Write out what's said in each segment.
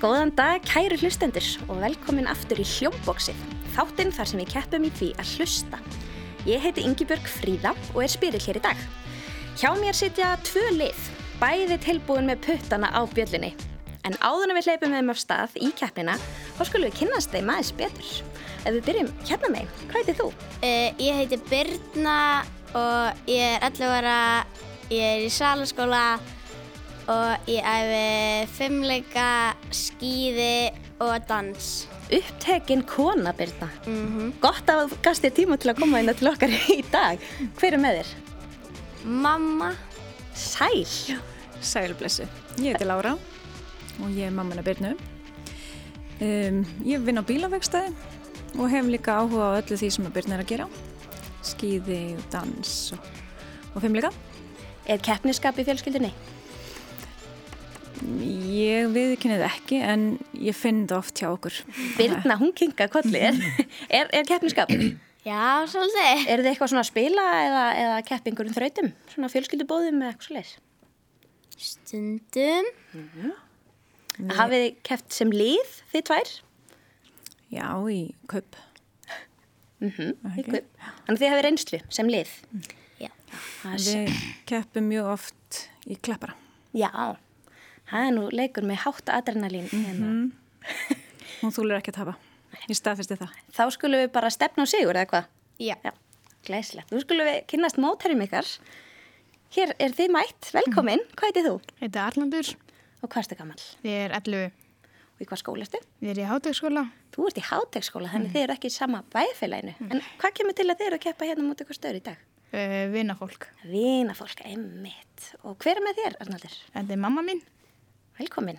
Góðan dag, kæru hlustendur og velkomin aftur í Hljómboksið, þáttinn þar sem við keppum í því að hlusta. Ég heiti Ingibjörg Fríða og er spyrill hér í dag. Hjá mér sitja tvö lið, bæði tilbúin með puttana á bjöllunni. En áður en við hleypum þeim af stað í keppnina, þá skulum við kynnast þeim aðeins betur. Ef við byrjum hérna megin, hvað heitir þú? Uh, ég heiti Birna og ég er 11 ára, ég er í salaskóla og ég æfi fimmleika, skýði og dans. Upptekin kona, Birna. Gott að þú gast þér tíma til að koma inn til okkar í dag. Hver er með þér? Mamma, Sæl. Sælblessu. Ég heiti Lára og ég er mamman að Birnu. Um, ég vinn á bílavegstæði og hef líka áhuga á öllu því sem að Birna er að gera. Skíði og dans og, og fimmleika. Er keppniskap í fjölskyldunni? Ég viðkynnið ekki en ég finn það oft hjá okkur. Birna, hún kinga kolli, er, er, er keppniskap? Eru já, svolítið. þið eitthvað svona að spila eða, eða keppa einhverjum þrautum? Svona fjölskyldubóðum eða eitthvað svolítið? Stundum, Hafið þið keppt sem lið, þið tvær? Já, í kaup. Okay. Ok. Þannig að þið hafið reynslu sem lið? já. Það er Við keppum mjög oft í kleppara. Já, það er nú leikur með hátt adrenalín. Mm Hún þúlur ekki að tapa. Ég staðfesti það. Þá skulum við bara stefna á sigur eða hvað? Já. Já, glæsilegt. Nú skulum við kynnast mótærum ykkar. Hér er þið mætt, velkomin, hvað heitið þú? Þetta er Arnaldur, Og hvað erstu gammal? ég er 11, Og í hvað skóla ertu? ég er í hátegskóla, Þú ert í hátekskóla, Mm. þannig þið eru ekki í sama bæfélaginu. En hvað kemur til að þið eru að keppa hérna mútið ykkur stöður í dag? uh, vinafólk. Vinafólk, emmitt. Og hver er með þér, Arnaldur? Þetta er mamma mín, Velkomin.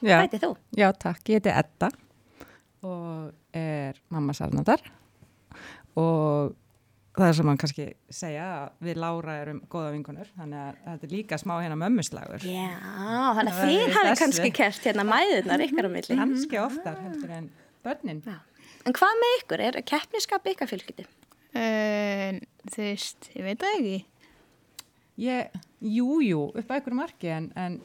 Já. Hvað heitir þú? Já, takk. Ég heiti Edda og er mamma sarnadar og það er sem mann kannski segja að við Lára erum góða vingunur þannig að þetta er líka smá hérna mömmuslagur. Já, þannig að Það þið er Mm-hmm. hafið þessi. kannski kert hérna mæðurnar ykkar á milli. Kannski oftar heldur en börnin. Já. En hvað með ykkur? Er keppniskap ykkar fylgjöldi? uh, þú veist, ég veit það ekki. Ég, jú, jú, upp að ykkur marki en, en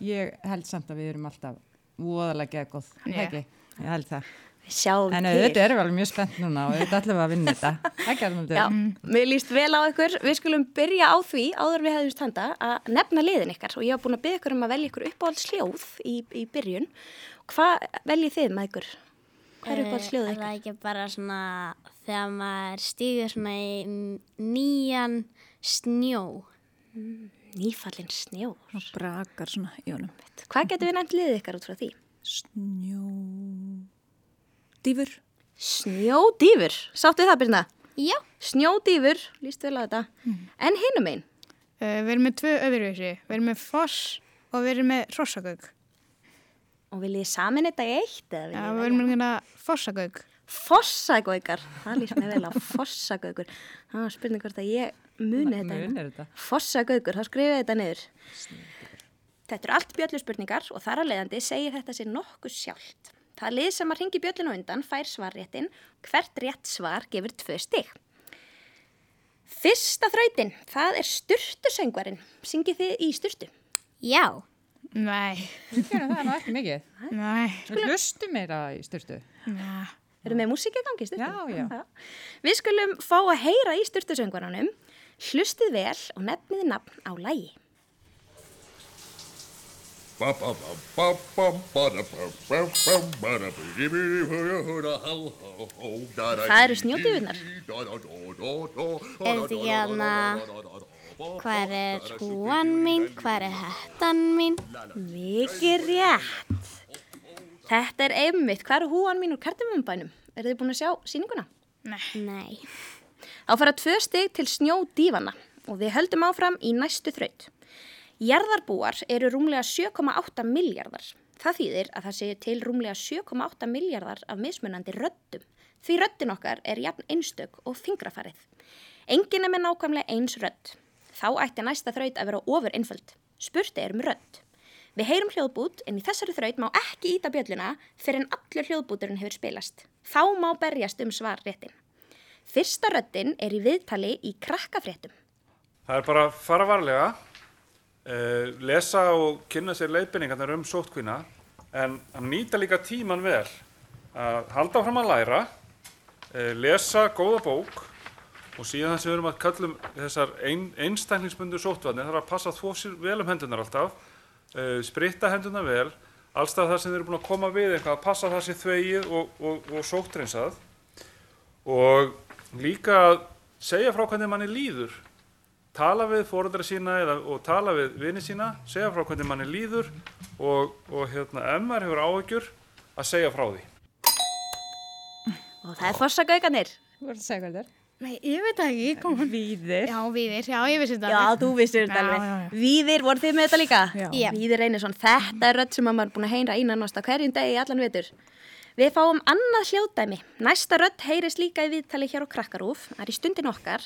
ég held samt að við erum alltaf voðalega geða góð. Já. Ekki? Ég held það. Við sjáum En til. auðvitað erum við alveg mjög spennt núna og auðvitað ætlum við að vinna þetta. Ekki alveg Já, mér líst vel á ykkur. Við skulum byrja á því, áður en við hefðum standa, að nefna liðin ykkar og ég hafa búin að byrja ykkur um að velja ykkur uppáhaldsljóð í, í byrjun. Hvað veljið þið með ykkur? Hvað er uppáhaldsljóð Eh, Er ykkar? það ekki bara svona þegar maður stígur svona í n- nýjan snjó? Nýfallin snjór. Og brakar svona í honum. Hvað getum við nefnt liðið ykkar út frá því? Snjó. Dýfur. Snjódýfur, sáttu það byrna? Já. Snjódýfur, líst vel á þetta. En hinum einn, Uh, við erum með tvö öðruvísi, við erum með foss og við erum með hrossagauk. og viljið samin þetta í eitt eða Já, viljið við erum með hérna fossagauk. Fossagaugar, það líst mér vel á Fossagaugur Það var spurning hvort að ég muni þetta munir hérna. þetta. Fossagaugur, þá skrifaði þetta niður Þetta eru allt bjöllu spurningar og þar að leiðandi segir þetta sér nokkuð sjálft Það lið sem að ringi bjöllinu undan fær svarréttin Hvert rétt svar gefur tvö stig Fyrsta þrautin, það er styrtusöngvarinn Syngið þið í styrtu Já. Nei, Gerum það nú ekki mikið. nei, Sko- Við hlustum meira í styrtu. nei. Erum við músík í gangi stundum? Já, já. Við skulum fá að heyra í styrtusöngvaranum, hlustið vel og nefnið nafn á lægi. Það eru snjódífunar. Er þetta ekki hérna- Hvar er húan mín? Hvar er hættan mín? Mikið rétt. Þetta er einmitt. Hvað er húan mín úr kartumömbænum? Eru þið búin að sjá síninguna? Nei. Á fara tvö stig til snjódífana og við höldum áfram í næstu þraut. Jarðarbúar eru rúmlega 7,8 miljardar. Það þýðir að það séu til rúmlega 7,8 miljardar af mismunandi röddum. Því röddin okkar er jafn einstök og fingrafarið. Engin er með nákvæmlega eins rödd. Þá ætti næsta þraut að vera ofur einföld. Spurt er um rödd. Við heyrum hljóðbút en í þessari þraut má ekki íta bjölluna fyrir en allur hljóðbúturinn hefur spilast. Þá má berjast um svar réttin. Fyrsta röddin er í viðtali í krakkafréttum. Það er bara að eh, fara varlega, uh, lesa og kynna sér leiðbynningarnar um sóttkvína, en að nýta líka tíman vel að halda fram að læra eh, lesa góða bók og síðan sem við erum að kallum þessar ein, einstækningsbundu sóttvarnir það er að passa þvó sér vel um hendunar alltaf eh, spritta hendunar vel allstað þar sem þeir eru búin að koma við eitthvað að passa það sér þvegið og, og, og sóttreinsað og líka að segja frá hvernig manni líður tala við fóreldra sína eða, og tala við vini sína segja frá hvernig manni líður og, og hérna, ef maður hefur áhyggjur að segja frá því Og það er fossagaukanir. Þú verður að segja hvað þetta er. Nei, ég veit það ekki, kom hún. Víðir. Já, viðir, já, ég vissi þetta. Já, alveg. þú vissir þetta Já, alveg. já, já. Víðir, voru þið með þetta líka? Já. Já. Víðir Einarsson, þetta er rödd sem að maður er búin að heyra ínanast á hverjum degi í allan vetur. Við fáum annað hljóðdæmi. Næsta rödd heyrist líka í viðtali hér á Krakkarúf, það er í stundin okkar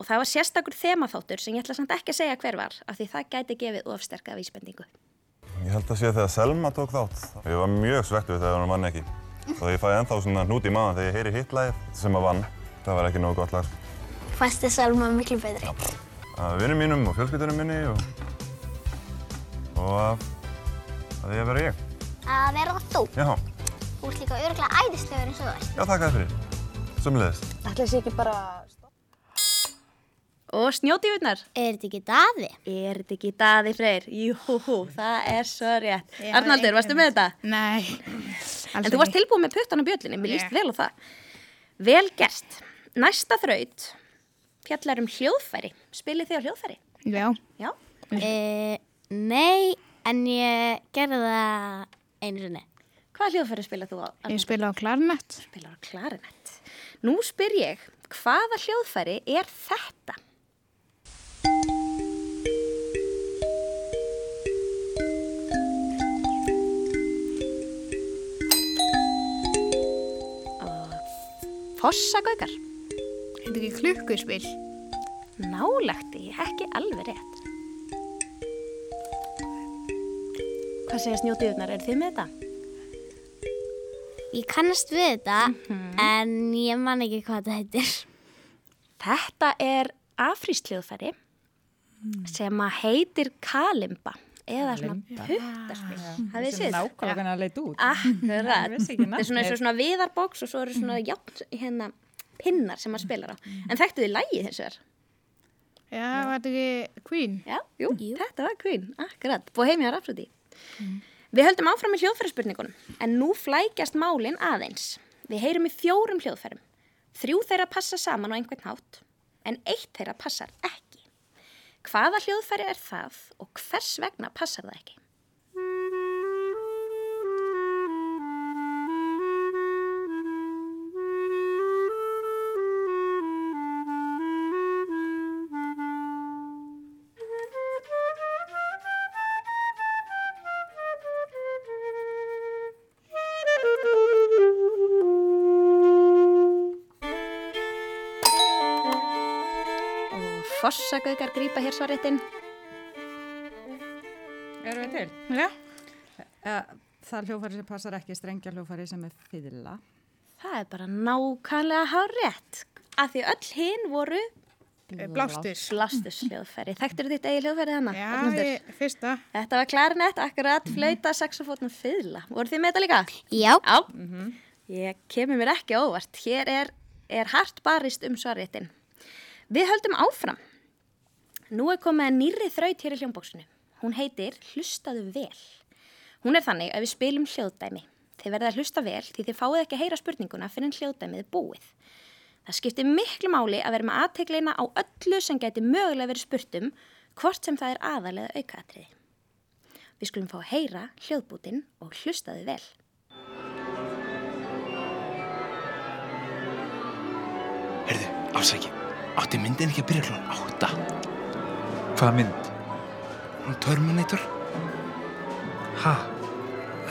og það var sérstakur þemaþáttur sem ég ætla samt ekki að segja hver var af því það gæti gefið ofsterka vísbendingu. Ég held að sé þegar Selma tók þátt. Ég var mjög svektur þegar hún vann ekki. Og ég fæði ennþá svona hnút í maðan þegar ég heyri hitt lagið sem að vann. Það var ekki nógu gott lag. sko. Fannst þið Salma miklu betri? Af vinnum mínum og fjölskyldunum minni og... Og af... að því að vera ég. Að vera þú. Já, Þú ert líka örgulega æðislegur eins og þú ert. já takk að fyrir. Sumleðist. Og snjótífunar, Er þetta ekki daði? er þetta ekki daði freyr? Júhú, það er svo rétt. Arnaldur, varstu með þetta? Nei. En þú varst tilbúin með puttan á bjöllinni, mér líst vel á það. Vel gert. Næsta þraut fjallar um hljóðfæri. Spilið þið á hljóðfæri? Já, Já. Mhm. E, nei, en ég gerði það einu sinni. Hvað hljóðfæri spilað þú á? ég spila á klarnett. Spilar á klarinett. Nú spyr ég, hvaða hljóðfæri er þetta? Fossagaukar. Þetta er ekki klukkuspil. Nálagt í, ekki alveg rétt. Hvað segja snjótiðunar, er þið með þetta? Ég kannast við þetta, Mhm. en ég man ekki hvað þetta heitir. Þetta er afrísljóðfæri Hmm. sem að heitir kalimba eða svona puttaspil. Það er sér. Nákvæmlega hvernig það leit út. Akkurat. vissi ekki Hmm. Þetta er svona eins og svona viðarboks og svo eru svona játn hérna pinnar sem maður spilar á. En þekktu þið lægið hins vegar? Já, var þetta ekki Queen? Já, jú, þetta var Queen, akkurat, Bohemian Rhapsody. Við höldum áfram með hljóðfæraspurningunum, en nú flækjast málin aðeins. Við heyrum í fjórum hljóðfærum. Þrjú þeirra passa saman á einhvern hátt, en eitt þeirra passar ekki. Hvaða hljóðfæri er það og hvers vegna passar það ekki? Og fossagaukar grípa hér svaréttin. Erum við til? Já. Uh, það er hljófari sem passar ekki strengja hljófari sem er fylla. Það er bara nákvæmlega hár rétt, af því öll hinn voru Eh, Blástur. slastus hljóðfæri. Þekktur þitt eigi hljóðfæri þannig? Já, ég, fyrsta. Þetta var klarinett, akkurat, flauta, saxofótn og fiðla. Voru þið með þetta líka? Já, Já. Ég kemur mér ekki á óvart. Hér er, er hart barist um svarréttin. Við höldum áfram. Nú er komið að nýri þraut hér í hljómbóksinu. Hún heitir Hlustaðu vel. Hún er þannig að við spilum hljóðdæmi. Þið verða að hlusta vel því þið fáið ekki að heyra spurninguna fyrir en hljóðdæmið er búið. Það skiptir miklu máli að vera með aðteglina á öllu sem gæti mögulega verið spurt um, hvort sem það er aðalega aukaatriði. Við skulum fá að heyra hljóðbútin og hlustaðu vel. Herðu, afsæki, átti myndin ekki að byrja klón átta? Hvaða mynd? Terminator. Ha?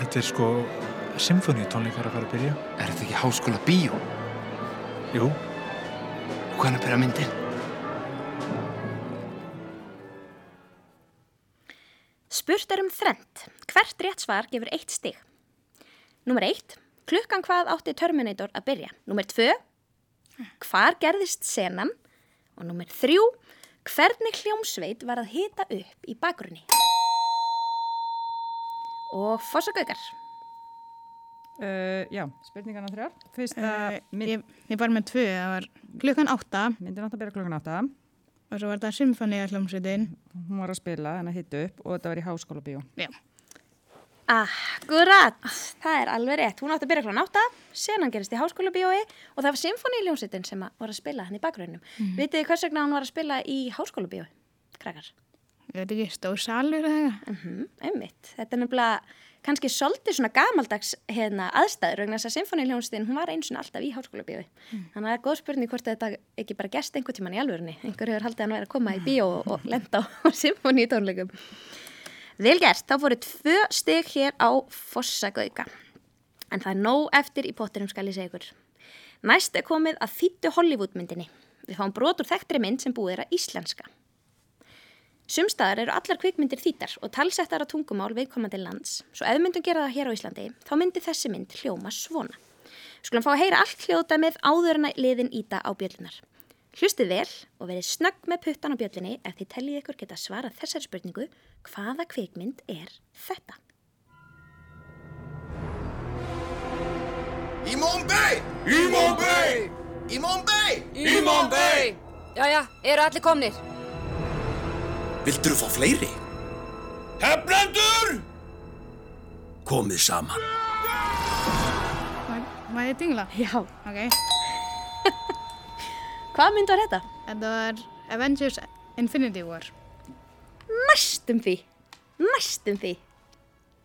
Þetta er sko symfóniutónleikar að fara að byrja. Er þetta ekki háskóla bíó? Jú. Hvaðan að byrja myndin? Spurt er um þrend. Hvert rétt svar gefur eitt stig. Númer eitt, klukkan hvað átti Terminator að byrja? Númer tvö, hvar gerðist senan? Og númer þrjú, hvernig hljómsveit var að hita upp í bakgrunni? Og fossagaukar, Uh, já, spurningarna þrjár. Fyrsta Eh, mynd, ég, ég var með tvö, það var klukkan átta myndin átt að byrja klokkan átta. og svo var það symfónía hljómsveitin. Hún var að spila en að hitta upp og þetta var í háskóla bíó. Já. Akkurat, það er alveg rétt. Hún átti að byrja klán átta, senan gerist í háskóla bíói og það var symfóníuljónsittin sem að var að spila hann í bakgrunum. Mm. Vitið þið hvers vegna hún var að spila í háskóla bíói, krakkar? Ég veit ekki, stór salur eða eitthvað. Mm Einmitt, þetta er nefnilega kannski svolítið svona gamaldags hérna, aðstæður vegna þess að symfóníuljónsittin, hún var eins og alltaf í háskóla bíói. Þannig að það er góð spurning hvort þetta ekki bara gerst einhvern tíman í alvörunni. Einhver hefur haldið að hann væri að koma í bíó og, og lenda á, á symfóníutónleikum. Vel gert, þá fóru tvö stig hér á Fossagauka. En það er nóg eftir í pottinum skal ég segja ykkur. Næst er komið að þýttu Hollywoodmyndinni. Við fáum brot úr þekktri mynd sem búið er að íslenska. Sumstaðar eru allar kvikmyndir þýttar og talsettar á tungumál viðkomandi lands. Svo ef við myndum gera það hér á Íslandi, þá myndi þessi mynd hljóma svona. Við Skulum fá að heyra allt hljóðdæmið áður en að liðin íta á bjöllunar. Hlustið vel og verið snögg með puttan á bjöllunni ef þið teljið ykkur geta svarað þessari spurningu hvaða kvikmynd er þetta? Í Mumbai! Í Mumbai! Í Mumbai! Í Mumbai! Jæja, eru allir komnir? Vildur þú fá fleiri? Hefnendur! Komið saman. Mm. Var ég dingla? Já. Ok. Hvað mynd var þetta? Þetta var Avengers Infinity War. Næstum því, næstum því.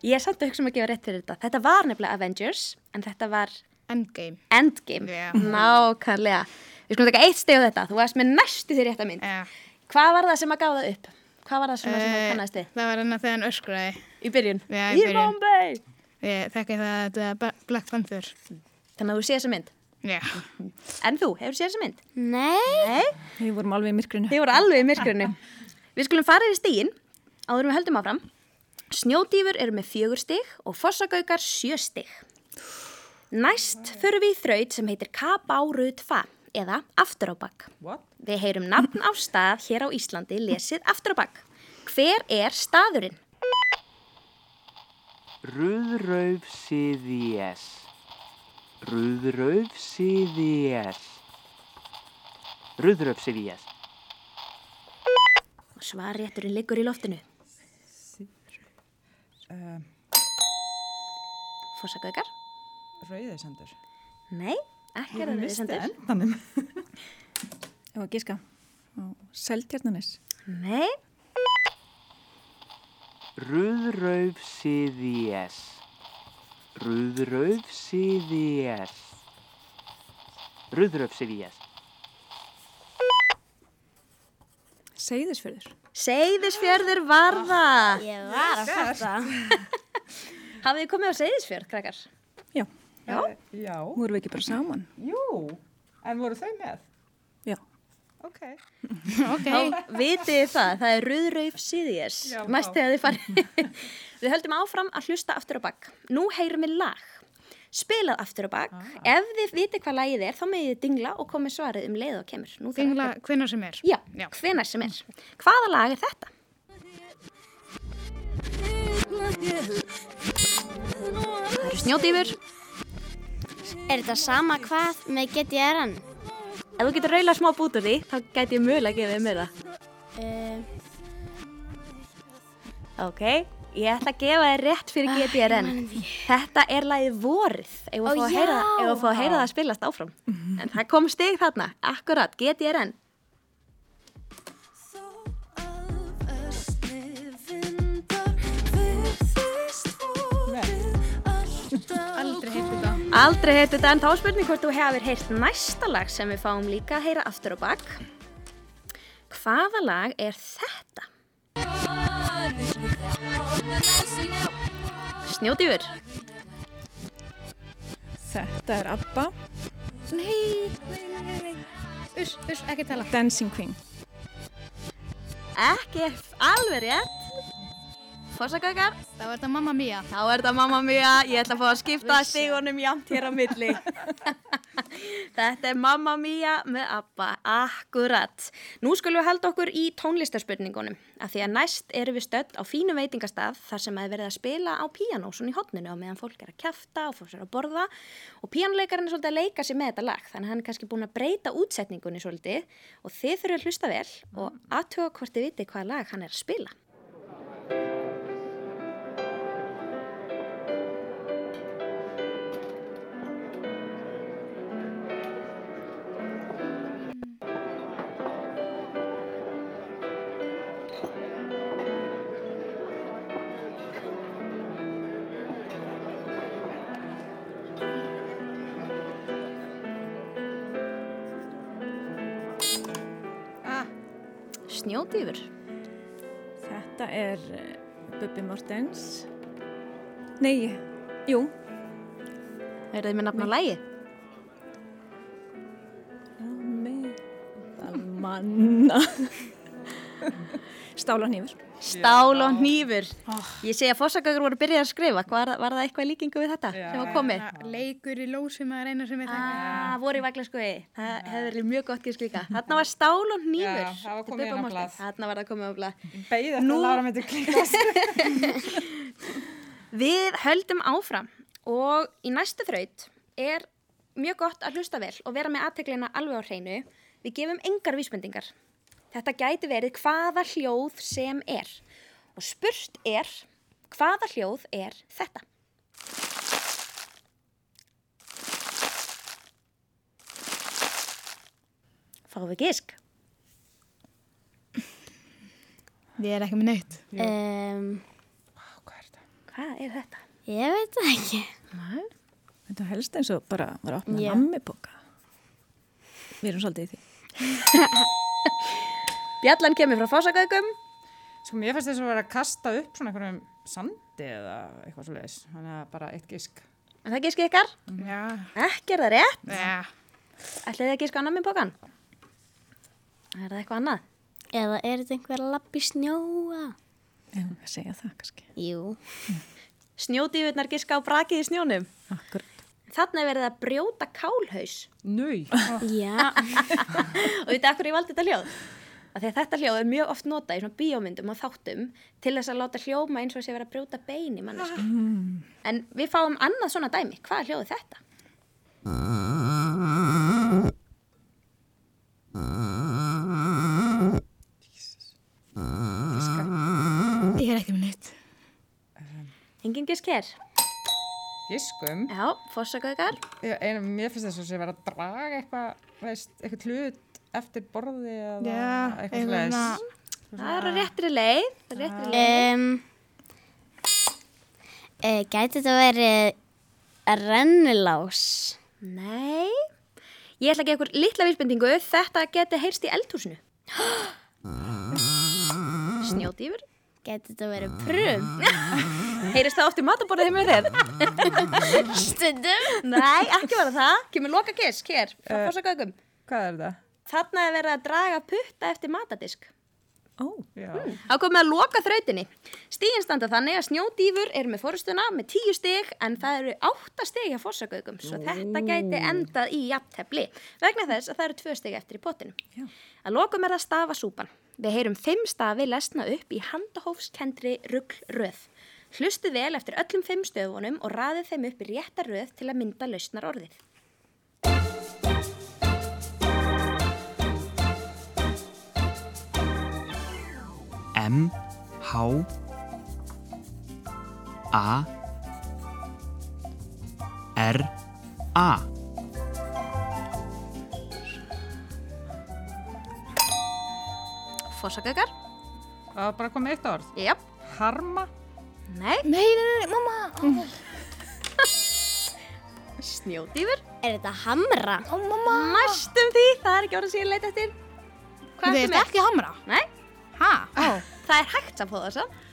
Ég er samt að hugsa um að gefa rétt fyrir þetta. Þetta var nefnilega Avengers en þetta var Endgame. Endgame, Já. nákvæmlega. Við skulum taka eitt steg á þetta, þú varst með næstu því rétta mynd. Yeah. Hvað var það sem að gáða upp? Hvað var það svona sem að Eh, kannast þið? Það var hann að þegar hann öskraði. Í byrjun? Já, í Í byrjun. Bombay! Ég þekki það að þetta er Ba- Black Panther. Þannig að þú sé þessa mynd? Já. En þú, hefur séð þessa mynd? Nei. Nei. Við vorum alveg í myrkrinu. Þið voru alveg í myrkrinu. Við skulum fara yfir stígin, áður en við höldum áfram. Snjódýfur eru með fjögur stig og fossagaukar sjö stig. Næst förum við í þraut sem heitir Kabárutfa eða aftur á bakk. What? Við heyrum nafn á stað hér á Íslandi lesið aftur á bakk. Hver er staðurinn? Rúðrauf síðies. Rúðrauf síðies. Rúðrauf síðies. Og svarrétturinn liggur í loftinu. Uh, Fossagaukar? Rauðisendur. Nei, ekki er það við sendur. endanum. Ég var að gíska. Seldjarnanis. Nei. Rúðrauf síðies. Rúðrauf síðies. Rúðrauf síðies. Seyðisfjörður. Seyðisfjörður var það. Ég var að fatta. Hafið þið komið á Seyðisfjörð, krakkar? Já. Já? Já. Vorum við ekki bara saman? Jú, en voru þau með? Já. Ok. Þá vitið þið það, það er Rauðrauf síðies. Já, vá. Næst þegar þið farið. við höldum áfram að hlusta aftur á bakk. Nú heyrum við lag. Spilað aftur á bakk. Ef þið vitið hvað lagið er, þá megið þið dingla og komið svarið um leið og kemur. Nú þarf Dingla ekki hvenar sem er. að- Já, Já. hvenar sem er. Hvaða lag er þetta? Það eru snjódýfur. Er þetta sama hvað með get ég er hann? Ef þú getur raula smá bút úr því, þá gæti ég mögulega að gefa þið meira. Eh. Uh, Ok, ég ætla að gefa þér rétt Ah, fyrir GBRN. Þetta er lagið vorið, ef Ó, að fá að heyra, já. ef að, fá að, heyra það að spilast áfram. En það kom stig þarna, akkurat, GBRN. Aldrei heilt þetta. Aldrei heitu þetta, en þá er spurning hvort þú hefur heyrt næsta lag sem við fáum líka að heyra aftur og bakk. Hvaða lag er þetta? Snjótiður. Þetta er Abba. Nei. Uss, uss, ekki tala. Dancing Queen. Ekki alveg rétt. Fossakaukar. Þá er þetta Mamma Mia. Þá er þetta mamma mía, ég ætla að fá að skipta stigunum jamt hér á milli. Þetta er Mamma Mia með Abba, akkurat. Nú skulum við halda okkur í tónlistarspurningunum, af því að næst erum við stödd á fínu veitingastað þar sem að er verið að spila á píanósun í hotninu og meðan fólk er að kjafta og fólk er að borða og píanuleikarinn er svolítið að leika sér með þetta lag, þannig að hann er kannski búin að breyta útsetningunni svolítið og þið þurfum að hlusta vel og aðtuga hvort þið viti hvaða lag hann er að spila. Snjódýfur. Þetta er eh, Bubbi Mortens. Nei, jú. Er þið með nafn á lægi? Manna. Stála nýfur. Stál og hnífur. Ah. Ég segi að fórsakakur voru byrjað að skrifa. Var, var það eitthvað í líkingu við þetta sem var komið? Leikur í lósum að reyna sem ég þekki. Ah, voru í vaglaskoði. Það hefur verið mjög gott gísk líka. Þarna var stál og hnífur. Já, það var Þetta er Bubba komið inn á Morthens. blað. Þarna var það komið á blað. Beigð eftir Nú- að Lára myndi klíkast. Við höldum áfram og í næstu þraut er mjög gott að hlusta vel og vera með aðteglina alveg á hreinu. Við gefum engar vísbendingar. Þetta gæti verið hvaða hljóð sem er. Og spurt er hvaða hljóð er þetta? Fáum við gisk? Ég er ekki með neitt. Um, Hvað er þetta? Ég veit það ekki. Nei. Þetta helst eins og bara var að opna Já. yeah. nammiboka. Við erum svolítið í því. Bjallan kemur frá fásakaugum. Sko mér finnst þess að vera að kasta upp svona einhverjum sandi eða eitthvað svo leiðis. Þannig að bara eitt gisk. En það gísk ykkar? Já. Ekki er það rétt? Já. Ætlið þið að gíska annað minn bókan? Er það eitthvað annað? Eða er þetta einhver lapp í snjóa? Ef hún að segja það kannski. Jú. Snjódífurnar gíska á brakið í snjónum. Akkurat. Þarna er verið að brjóta kálhaus. Nau. Já. og veitu akkur ég valdi þetta hljóð? Af því að þetta hljóð er mjög oft notað í svona bíómyndum og þáttum til þess að láta hljóma eins og sé verið að brjóta bein í mannesku. En við fáum annað svona dæmi. Hvað er hljóðið þetta? Ég er ekki með neitt. Engin gísk hér. Giskum? Já, fórsakaukar. Mér finnst þess að vera að draga eitthvað, veist, eitthvað hlut eftir borði eða Já, eitthvað svo leiðis. Það er á réttri leið. Það er á réttri leið. Um, e, gæti þetta verið rennilás? Nei. Ég ætla að gefa ykkur litla vísbendingu. Þetta geti heyrst í eldhúsinu. Snjódýfur. Gæti þetta verið prum? Heyrist það oft í mataborðið heimur þér? Stundum. Nei, ekki var það. Kemur loka kisk hér, frá Eh, fórsakaugum. Hvað er það? Þarna er verið að draga putta eftir matadisk. Hmm. Ó, já. Þá komið að loka þrautinni. Stígin standa þannig að snjódýfur eru með fórstuna með tíu stig en það eru átta stig hjá fórsakaugum svo þetta gæti endað í jafntefli vegna þess að það eru tvö stig eftir í potinu. Já. Að lokum er það stafa súpan. Við heyrum fimm stafi lesna upp í handahófskendri rugglröð. Hlustu vel eftir öllum fimm stöfunum og raðið þeim upp í rétta röð til að mynda lausnar orðið. M H A R A Fórsakaukar? Það var bara komið eitt orð. Jáp. Harma? Nei. Mm. Nei, nei, nei, mamma. Snjódýfur. Er þetta hamra? Ó, mamma! Næstum því, það er ekki orðið sem ég leita eftir. Þú veist ekki hamra? Nei. Ha? Ó. Það er hægt að fóða þess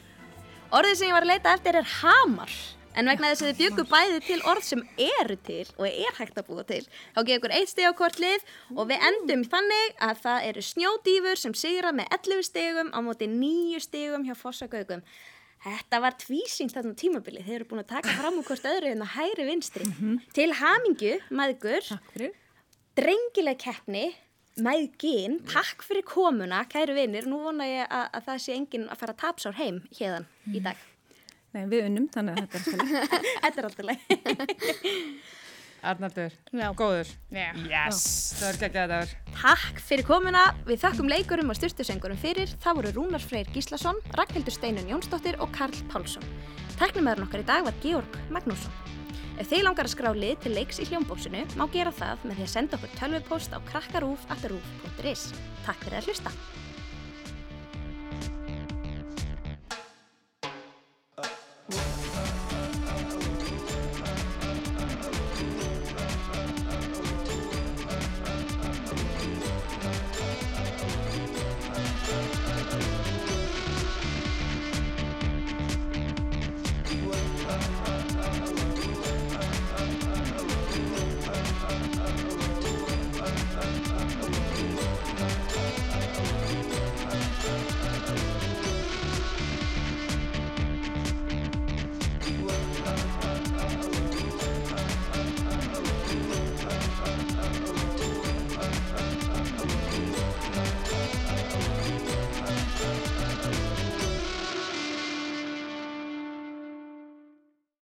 Orðið sem ég var að leita eftir er hamar. En vegna þess að þið bjöggu bæði til orð sem eru til og er hægt að búa til, þá gefur ykkur eitt stig á hvort lið og við endum þannig að það eru snjódýfur sem sigra með 11 stigum á móti 9 stigum hjá fossagaugum. Þetta var tvísýnt þarna á tímabili. Þeir eru búin að taka fram úr hvort öðru en að hægri vinstri. Til hamingju, maðgur. Takk fyrir. Drengileg keppni, maðgin. Takk fyrir komuna, kæru vinir. Nú vona ég að, að það sé enginn að fara tapsár heim hérðan í dag. Nei, við unnum, þannig að þetta er alltaf Þetta er alltaf leið. Arnaldur, góður. Já. Yes, það er geggjað þetta var. Takk fyrir komuna. Við þakkum leikurum og styrtusöngurum fyrir. Það voru Rúnar Freyr Gíslason, Ragnhildur Steinun Jónsdóttir og Karl Pálsson. Teknumæðurinn okkar í dag var Georg Magnússon. Ef þið langar að skrá lið til leiks í hljómbóksinu má gera það með því að senda okkur tölvupóst á krakkarúf.rúf.is. Takk fyrir að hlusta.